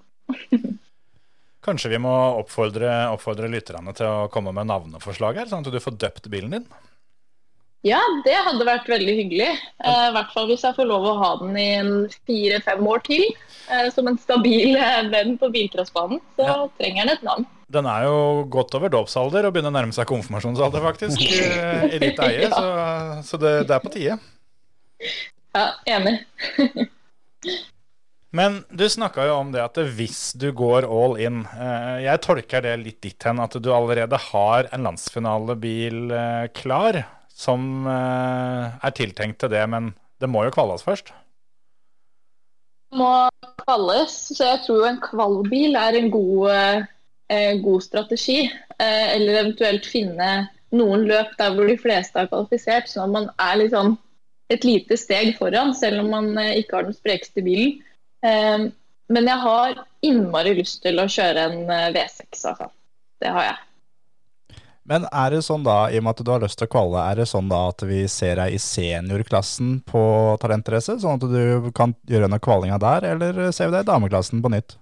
Kanskje vi må oppfordre, oppfordre lytterne til å komme med navneforslag her, sånn at du får døpt bilen din. Ja, det hadde vært veldig hyggelig. Eh, I hvert fall hvis jeg får lov å ha den i en fire-fem år til. eh, som en stabil eh, venn på bilcrossbanen. Så trenger den et navn. Den er jo godt over dåpsalder og begynner å nærme seg konfirmasjonsalder, faktisk, i i ditt eie, Ja. så, så det, det er på tide. Ja, enig. Men du snakka jo om det at hvis du går all in eh, Jeg tolker det litt ditt hen at du allerede har en landsfinalebil eh, klar som eh, er tiltenkt til det, men det må jo kvalas først. må kvalles, så jeg tror jo en kvalbil er en god, eh, god strategi. Eh, eller eventuelt finne noen løp der hvor de fleste er kvalifisert, sånn at man er litt sånn et lite steg foran, selv om man eh, ikke har den sprekeste bilen. Eh, men jeg har innmari lyst til å kjøre en eh, V6, altså. Det har jeg. Men er det sånn da, i og med at du har lyst til å kvalle, er det sånn da at vi ser deg i seniorklassen på talentrace, sånn at du kan gjøre noe kvalinga der, eller ser vi deg i dameklassen på nytt?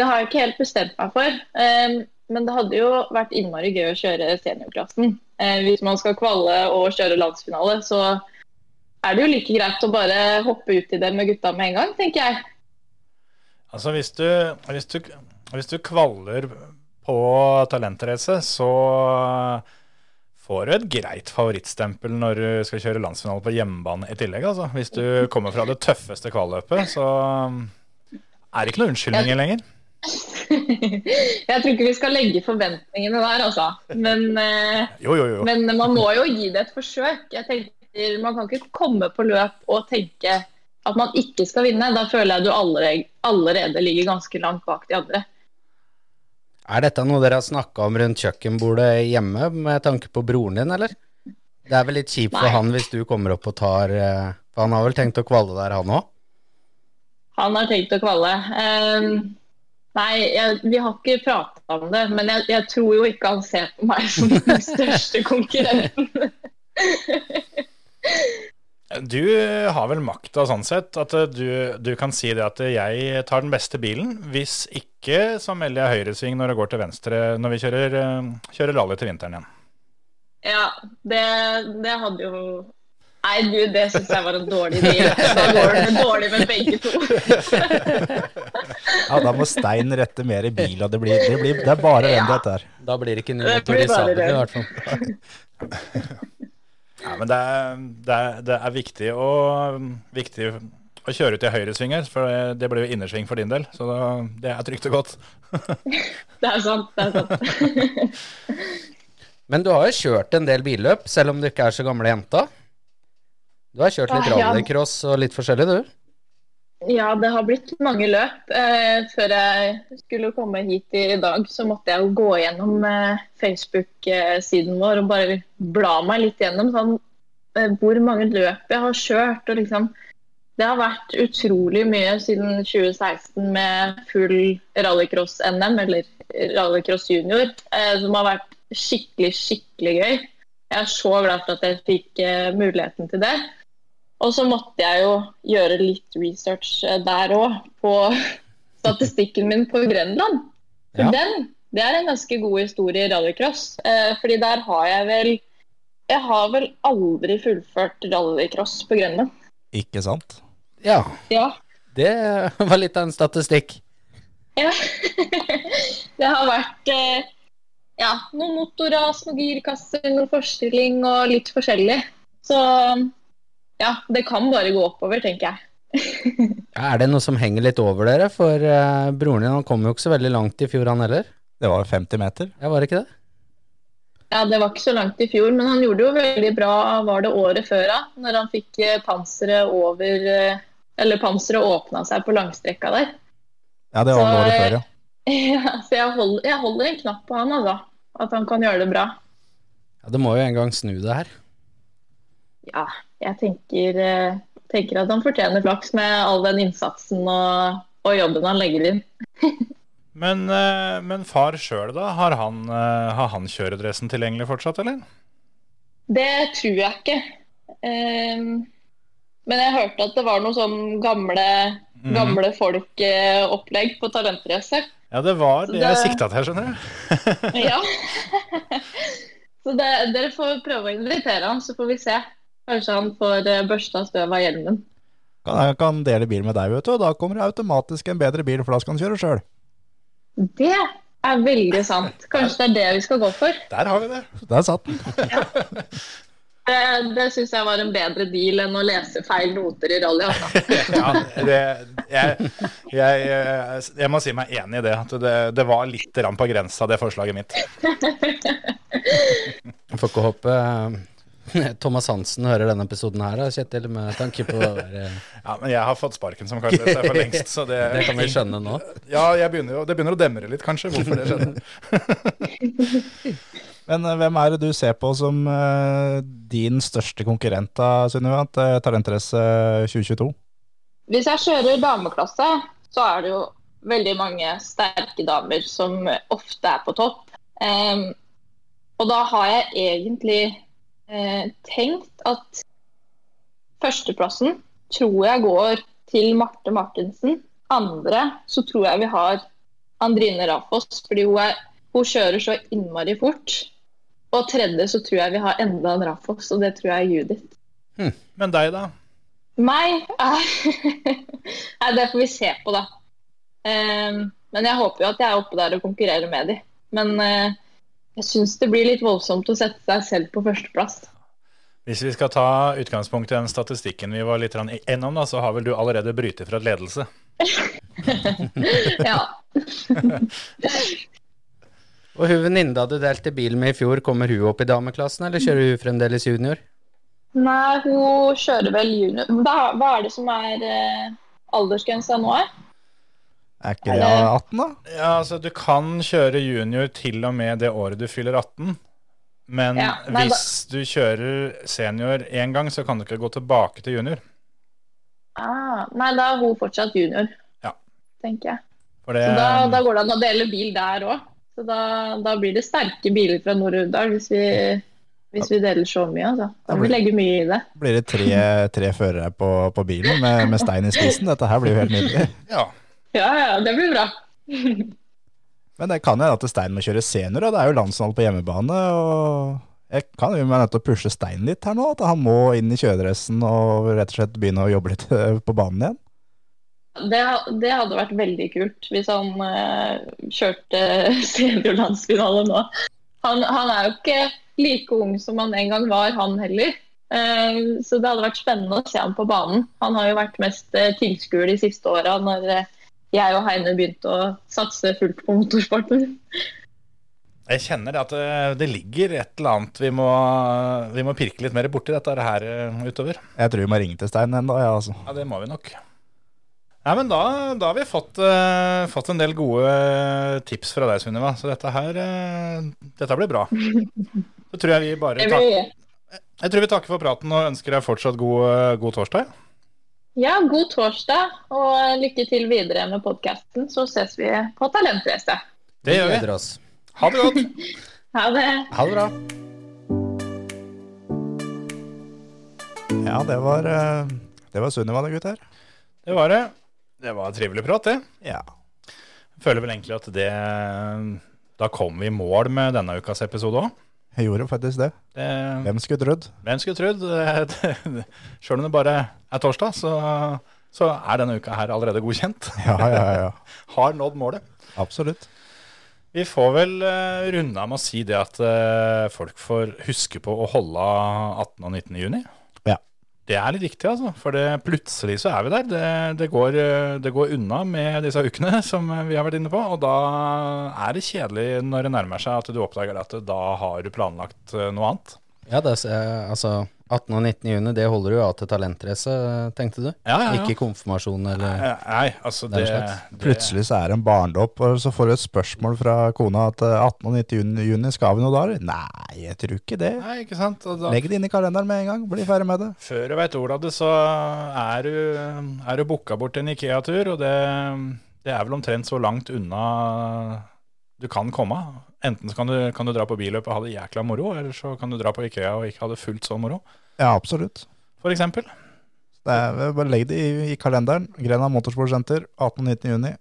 Det har jeg ikke helt bestemt meg for. eh, men det hadde jo vært innmari gøy å kjøre seniorklassen. Eh, hvis man skal kvalle og kjøre landsfinale, så er det jo like greit å bare hoppe uti det med gutta med en gang, tenker jeg. (laughs) Altså hvis du, hvis du, hvis du kvaller på talentrace, så får du et greit favorittstempel når du skal kjøre landsfinale på hjemmebane i tillegg. Altså. Hvis du kommer fra det tøffeste kvalløpet, så er det ikke noen unnskyldninger lenger. jeg tror ikke vi skal legge forventningene der, altså. Men, eh, Jo, jo, jo. men man må jo gi det et forsøk. Jeg tenker, Man kan ikke komme på løp og tenke at man ikke skal vinne. Da føler jeg du allerede, allerede ligger ganske langt bak de andre. Er dette noe dere har snakka om rundt kjøkkenbordet hjemme, med tanke på broren din, eller? Det er vel litt kjipt for Nei. han hvis du kommer opp og tar eh, For han har vel tenkt å kvalle der, han òg? Han har tenkt å kvalle. Ehm, nei, jeg, vi har ikke prata om det, men jeg, jeg tror jo ikke han ser på meg som den største konkurrenten. Du har vel makta sånn sett at du, du kan si det at jeg tar den beste bilen. Hvis ikke så melder jeg høyresving når det går til venstre når vi kjører, eh, kjører rally til vinteren igjen. Ja, det, det hadde jo Nei, du, det syns jeg var en dårlig deal. Da går det dårlig med begge to. Ja, da må Stein rette mer i bil, og det, blir, det, blir, det er bare den dette her. Da blir det ikke Det blir motor i bare sadelen, det. i hvert fall. Ja, men det er, det er, det er viktig, å, viktig å kjøre ut i høyresvinger, for det- det blir jo innersving for din del. Så da, det er trygt og godt. Det er sant, det er sant. Men du har jo kjørt en del billøp, selv om du ikke er så gamle jenta. Du har kjørt litt Ah, ja. rallycross og litt forskjellig, du. Ja, det har blitt mange løp. Eh, før jeg skulle komme hit i dag, så måtte jeg jo gå gjennom eh, Facebook-siden vår og bare bla meg litt gjennom sånn, eh, hvor mange løp jeg har kjørt. Og liksom, det har vært utrolig mye siden 2016 med full rallycross-NM, eller rallycross junior, eh, som har vært skikkelig, skikkelig gøy. Jeg er så glad for at jeg fikk eh, muligheten til det. Og så måtte jeg jo gjøre litt research eh, der òg, på (laughs) statistikken min på Grønland. For Ja. den, det er en ganske god historie i rallycross. Eh, fordi der har jeg vel Jeg har vel aldri fullført rallycross på Grønland. Ikke sant? Ja, Ja. det (laughs) var litt av en statistikk. Ja. (laughs) Det har vært eh, ja, noen motorras, noen girkasser, noen forstilling og litt forskjellig. Så ja, det kan bare gå oppover, tenker jeg. (laughs) Ja, er det noe som henger litt over dere? For eh, broren din han kom jo ikke så veldig langt i fjor, han heller. Det var 50 meter. Ja, var det ikke det? Ja, Det var ikke så langt i fjor, men han gjorde jo veldig bra var det året før da, når han fikk eh, panseret over eh, Eller panseret åpna seg på langstrekka der. Ja, det var Så, vel året eh, før, ja. (laughs) Ja, så jeg holder, jeg holder en knapp på han, altså. At han kan gjøre det bra. Ja, Det må jo en gang snu det her. Ja, jeg tenker, eh, tenker at han fortjener flaks med all den innsatsen og, og jobben han legger inn. Men, eh, men far sjøl, da? Har han, eh, har han kjøredressen tilgjengelig fortsatt, eller? Det tror jeg ikke. Ehm, men jeg hørte at det var noe sånn gamle, Mhm. gamle folk-opplegg på talentrace. Ja, det var Så det jeg det- sikta til, skjønner du. Ja. (laughs) så det, dere får prøve å invitere han, så får vi se. Kanskje han får eh, børsta støv av hjelmen. Kan, jeg kan dele bil med deg, vet du, og da kommer det automatisk en bedre bil, for da skal han kjøre sjøl. Det er veldig sant. Kanskje det er det vi skal gå for. Der har vi det. Der satt den. Det, det syns jeg var en bedre deal enn å lese feil noter i altså. rallyhanda. Ja, det, jeg, jeg, jeg, jeg må si meg enig i det. At det, det var litt rann på grensa, det forslaget mitt. Jeg får ikke håpe eh, (laughs) Thomas Hansen hører denne episoden her, da, Kjetil, med tanke på å være (laughs) Ja, Men jeg har fått sparken som kartløser for lengst, så det, Det kan vi skjønne nå. ja, jeg begynner jo, det begynner å demre litt, kanskje, hvorfor det skjedde. Men eh, hvem er det du ser på som eh, din største konkurrent da, Sunniva, til Talentrace eh, 2022? Hvis jeg kjører dameklasse, så er det jo veldig mange sterke damer som ofte er på topp. Ehm, og da har jeg egentlig eh, tenkt at førsteplassen tror jeg går til Marte Martinsen. Andre så tror jeg vi har Andrine Rafoss, fordi hun, er, hun kjører så innmari fort. Og tredje så tror jeg vi har enda en Rafoss, og det tror jeg er Judith. Men deg, da? Meg er (laughs) Nei, det får vi se på, da. Ehm, men jeg håper jo at jeg er oppe der og konkurrerer med de. Men eh, jeg syns det blir litt voldsomt å sette seg selv på førsteplass. Hvis vi skal ta utgangspunkt i den statistikken vi var litt rann innom, da, så har vel du allerede brytet fra et ledelse. ja. Og hun venninna du delte bil med i fjor, kommer hun opp i dameklassen, eller kjører hun fremdeles junior? Nei, hun kjører vel junior Hva, hva er det som er eh, aldersgrensa nå? eh? Er ikke det 18, da? Ja, altså Du kan kjøre junior til og med det året du fyller 18. Men Ja, nei, da- hvis du kjører senior én gang, så kan du ikke gå tilbake til junior. Ah, nei, da er hun fortsatt junior, Ja. tenker jeg. For det, Så da, da går det an å dele bil der òg. Så da, da blir det sterke biler fra Nord-Urdal hvis, vi- hvis vi deler så mye. Altså. Da må vi legge mye i det. Blir det tre, tre førere på, på bilen med, med stein i spissen? Dette her blir jo helt nydelig. ja. Ja, ja, det blir bra. Men det kan jo hende at Stein må kjøre senior, og det er jo landshold på hjemmebane. og Jeg kan jo være nødt til å pushe Stein litt her nå, at han må inn i kjøredressen og rett og slett begynne å jobbe litt (laughs) eh, på banen igjen. Det, det hadde vært veldig kult hvis han eh, kjørte (laughs) seniorlandsfinale nå. Han, han er jo ikke like ung som han en gang var, han heller. Eh, så det hadde vært spennende å se ham på banen. Han har jo vært mest eh, tilskuer de siste åra, når eh, jeg og Heine begynte å satse fullt på motorsporten. Jeg kjenner at eh, det, det ligger et eller annet vi må, vi må pirke litt mer borti dette her eh, utover. Jeg tror vi må ringe til Stein ennå, ja, altså. Ja, det må vi nok. Nei, men da, da har vi fått, eh, fått en del gode eh, tips fra deg, Sunniva. Så dette her eh, Dette blir bra. Så tror jeg vi bare Det tak blir- Jeg tror vi takker for praten og ønsker deg fortsatt god, eh, god torsdag. Ja, god torsdag, og lykke til videre med podkasten. Så ses vi på Talentrace. Det gjør vi. gleder oss. Ha det godt. Ha det. Ha det bra. Ja, det var, eh, det var Sunniva, det, gutter. Det var det. Det var en trivelig prat, det. Ja. Føler vel egentlig at det eh, Da kom vi i mål med denne ukas episode òg. Jeg gjorde faktisk det. Hvem skulle trodd? Hvem skulle trodd? (laughs) Sjøl om det bare er torsdag, så, så er denne uka her allerede godkjent. Ja, ja, ja. Har nådd målet. Absolutt. Vi får vel eh, runde av med å si det at eh, folk får huske på å holde 18. og 19. juni. Ja. Det er litt viktig, altså. For det, plutselig så er vi der. Det, det, går, eh, det går unna med disse ukene (laughs) som eh, vi har vært inne på. Og da er det kjedelig når det nærmer seg at du oppdager at da har du planlagt eh, noe annet. Ja, det, er s- eh, altså 18. og 19. juni, det holder jo av til talentrace, eh, tenkte du? Ja, ja, ja. Ikke konfirmasjon eller Eh, Nei, altså Den det, slags. det Plutselig så er det en barndåp, og så får du et spørsmål fra kona at eh, 18. og 19. juni- juni, skal vi noe da? eller? Nei, jeg tror ikke det. Nei, ikke sant. Og da, Legg det inn i kalenderen med en gang, bli ferdig med det. før du veit ordet av det, så er du, er du booka bort til en Ikea-tur, og det, det er vel omtrent så langt unna du kan komme. Enten så kan du, kan du dra på billøp og ha det jækla moro, eller så kan du dra på Ikea og ikke ha det fullt så moro, Ja, absolutt. for eksempel. Det er, eh, bare legg det i, i kalenderen. Grena Motorsportsenter, 18. og 19. juni.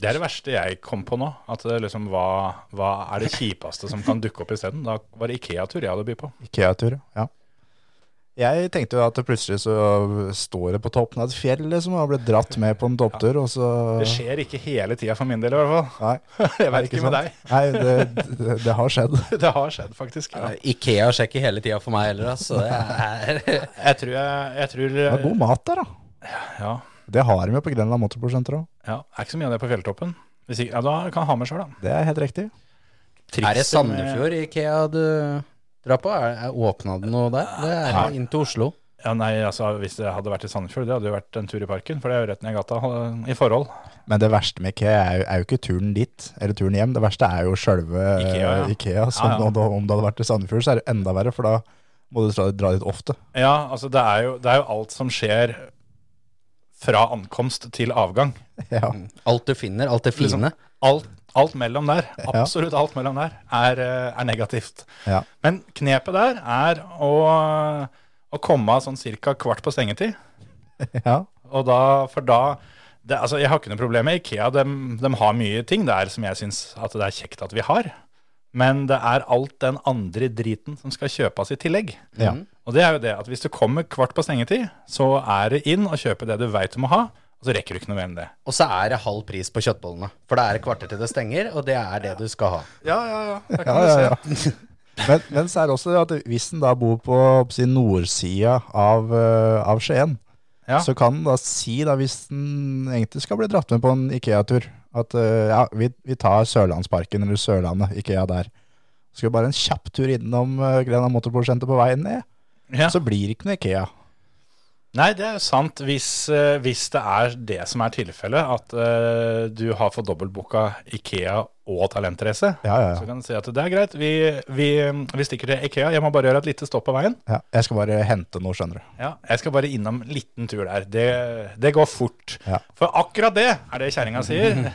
Det er det verste jeg kom på nå. At det liksom, hva, hva er det kjipeste som kan dukke opp isteden? Da var det Ikea-tur jeg hadde å by på. Ikea-tur, ja. Jeg tenkte jo at det plutselig så står det på toppen av et fjell liksom, og har blitt dratt med på en topptur, og så Det skjer ikke hele tida for min del, i hvert fall. Nei, (laughs) Jeg Nei, vet ikke ikke med sant. deg. nei det, det, det har skjedd. (laughs) Det har skjedd, faktisk. Ja. Eh, Ikea sjekker hele tida for meg heller, altså. (laughs) Det er Jeg tror jeg, jeg tror, eh, Det var god mat der, da. ja, Det har de jo på Grenland Motorsportsenter òg. ja, det er ikke så mye av det på fjelltoppen. Hvis ikke, ja, da kan jeg ha med sjøl, da. Det er helt riktig. Er det Trikset med- Sandefjord Ikea du drar på? Er, er Åpna det noe der? Det er Nei. inn til Oslo. Ja, nei, altså, Hvis det hadde vært i Sandefjord, det hadde jo vært en tur i parken. For det er jo rett ned i gata eh, i forhold. Men det verste med Ikea er jo, er jo ikke turen dit, eller turen hjem. Det verste er jo sjølve Ikea, Ikea. ja. Ikea så Ja, ja. nå da- om det hadde vært i Sandefjord, så er det enda verre, for da må du dra, dra dit ofte. (laughs) Ja, altså, det er, jo, det er jo alt som skjer fra ankomst til avgang. Ja. Alt du finner, alt det Liksom. fine. Alt, alt mellom der, absolutt alt mellom der, er, eh, er negativt. Ja. Men knepet der er å, å komme av sånn cirka kvart på stengetid. (laughs) ja. Og da, for da det, altså Jeg har ikke noe problem med Ikea. De, har mye ting der som jeg syns det er kjekt at vi har. Men det er alt den andre driten som skal kjøpes i tillegg. Ja. Og det er jo det at hvis du kommer kvart på stengetid, så er det inn og kjøpe det du veit du må ha. Og så rekker du ikke noe mer enn det. Og så er det halv pris på kjøttbollene. For det er et kvarter til det stenger, og det er det du skal ha. Ja, ja, ja. Ja, ja, ja. Men, men så er det også det at hvis en da bor på si, nordsida av, eh, av Skien, Ja. så kan en da si, da, hvis en egentlig skal bli dratt med på en Ikea-tur, at eh, ja, vi, vi tar Sørlandsparken eller Sørlandet, Ikea der. Så skal vi bare en kjapp tur innom uh, Grena Motorprodusenter på veien ned, Ja. så blir det ikke noe Ikea. Nei, det er jo sant hvis, eh, hvis det er det som er tilfellet, at eh, du har fått dobbeltbooka Ikea og Talentreise. Ja, ja, Så ja. kan du si at det er greit, vi, vi, vi stikker til Ikea. Jeg må bare gjøre et lite stopp på veien. ja. Jeg skal bare hente noe, skjønner du. Ja, jeg skal bare innom en liten tur der. Det, det går fort. Ja. For akkurat det er det (laughs) kjerringa sier.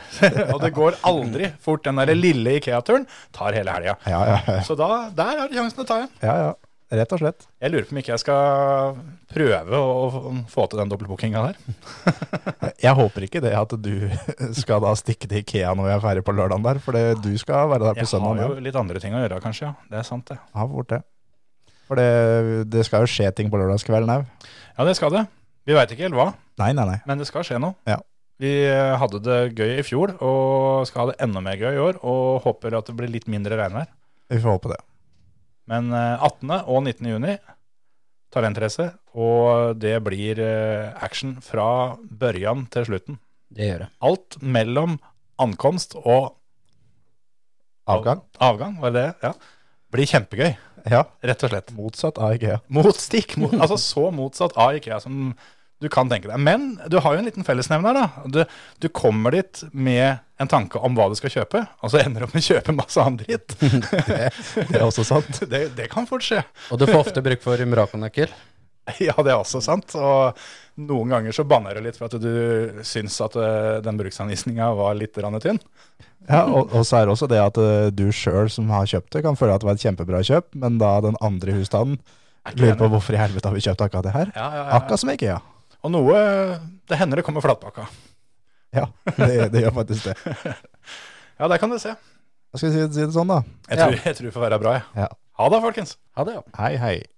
og det går aldri fort. Den der lille Ikea-turen tar hele helga. Ja, ja, ja. Så da, der er sjansen å ta igjen. ja, ja. Rett og slett. Jeg lurer på om ikke jeg skal prøve å få til den dobbeltbookinga der. Jeg håper ikke det at du (laughs) skal da stikke til Ikea når vi er ferdig på lørdagen der, for det, du skal være der på Jeg søndag. har jo litt andre ting å gjøre, kanskje. ja. Det er sant, det. Ja, fort det. For det, det skal jo skje ting på lørdagskvelden òg. Ja, det skal det. Vi veit ikke helt hva, Nei, nei, nei. men det skal skje noe. Ja. Vi eh, hadde det gøy i fjor, og skal ha det enda mer gøy i år. Og håper at det blir litt mindre regnvær. Vi får håpe det. Men eh, 18. og 19. juni, talentrace, og det blir eh, action fra børjan til slutten. Det gjør det. Alt mellom ankomst og Avgang? avgang, var det det? Ja. Blir kjempegøy, Ja. rett og slett. Motsatt av IKEA. Mot stikk, mot, altså så motsatt av IKEA som du kan tenke deg. Men du har jo en liten fellesnevner, da. Du, du kommer dit med en tanke om hva du skal kjøpe, og så ender du opp med å kjøpe masse annen dritt. (laughs) Det er også sant. Det, det kan fort skje. Og du får ofte bruk for Murakonøkkel. (laughs) Ja, det er også sant. Og noen ganger så banner det litt for at du syns at eh, den bruksanvisninga var litt rann tynn. Ja, og, og så er det også det at eh, du sjøl som har kjøpt det, kan føle at det var et kjempebra kjøp, men da den andre i husstanden lurer på hvorfor i helvete har vi kjøpt akkurat det her. Ja, ja, ja. Akkurat som IKEA. Og noe eh, Det hender det kommer flatpakka. Ja, det, det gjør faktisk det. Ja, der kan du se. Jeg skal si, si det sånn, da. Jeg tror, jeg tror det får være bra, jeg. Ja. Ha det, folkens. Ha det, ja. Hei, hei.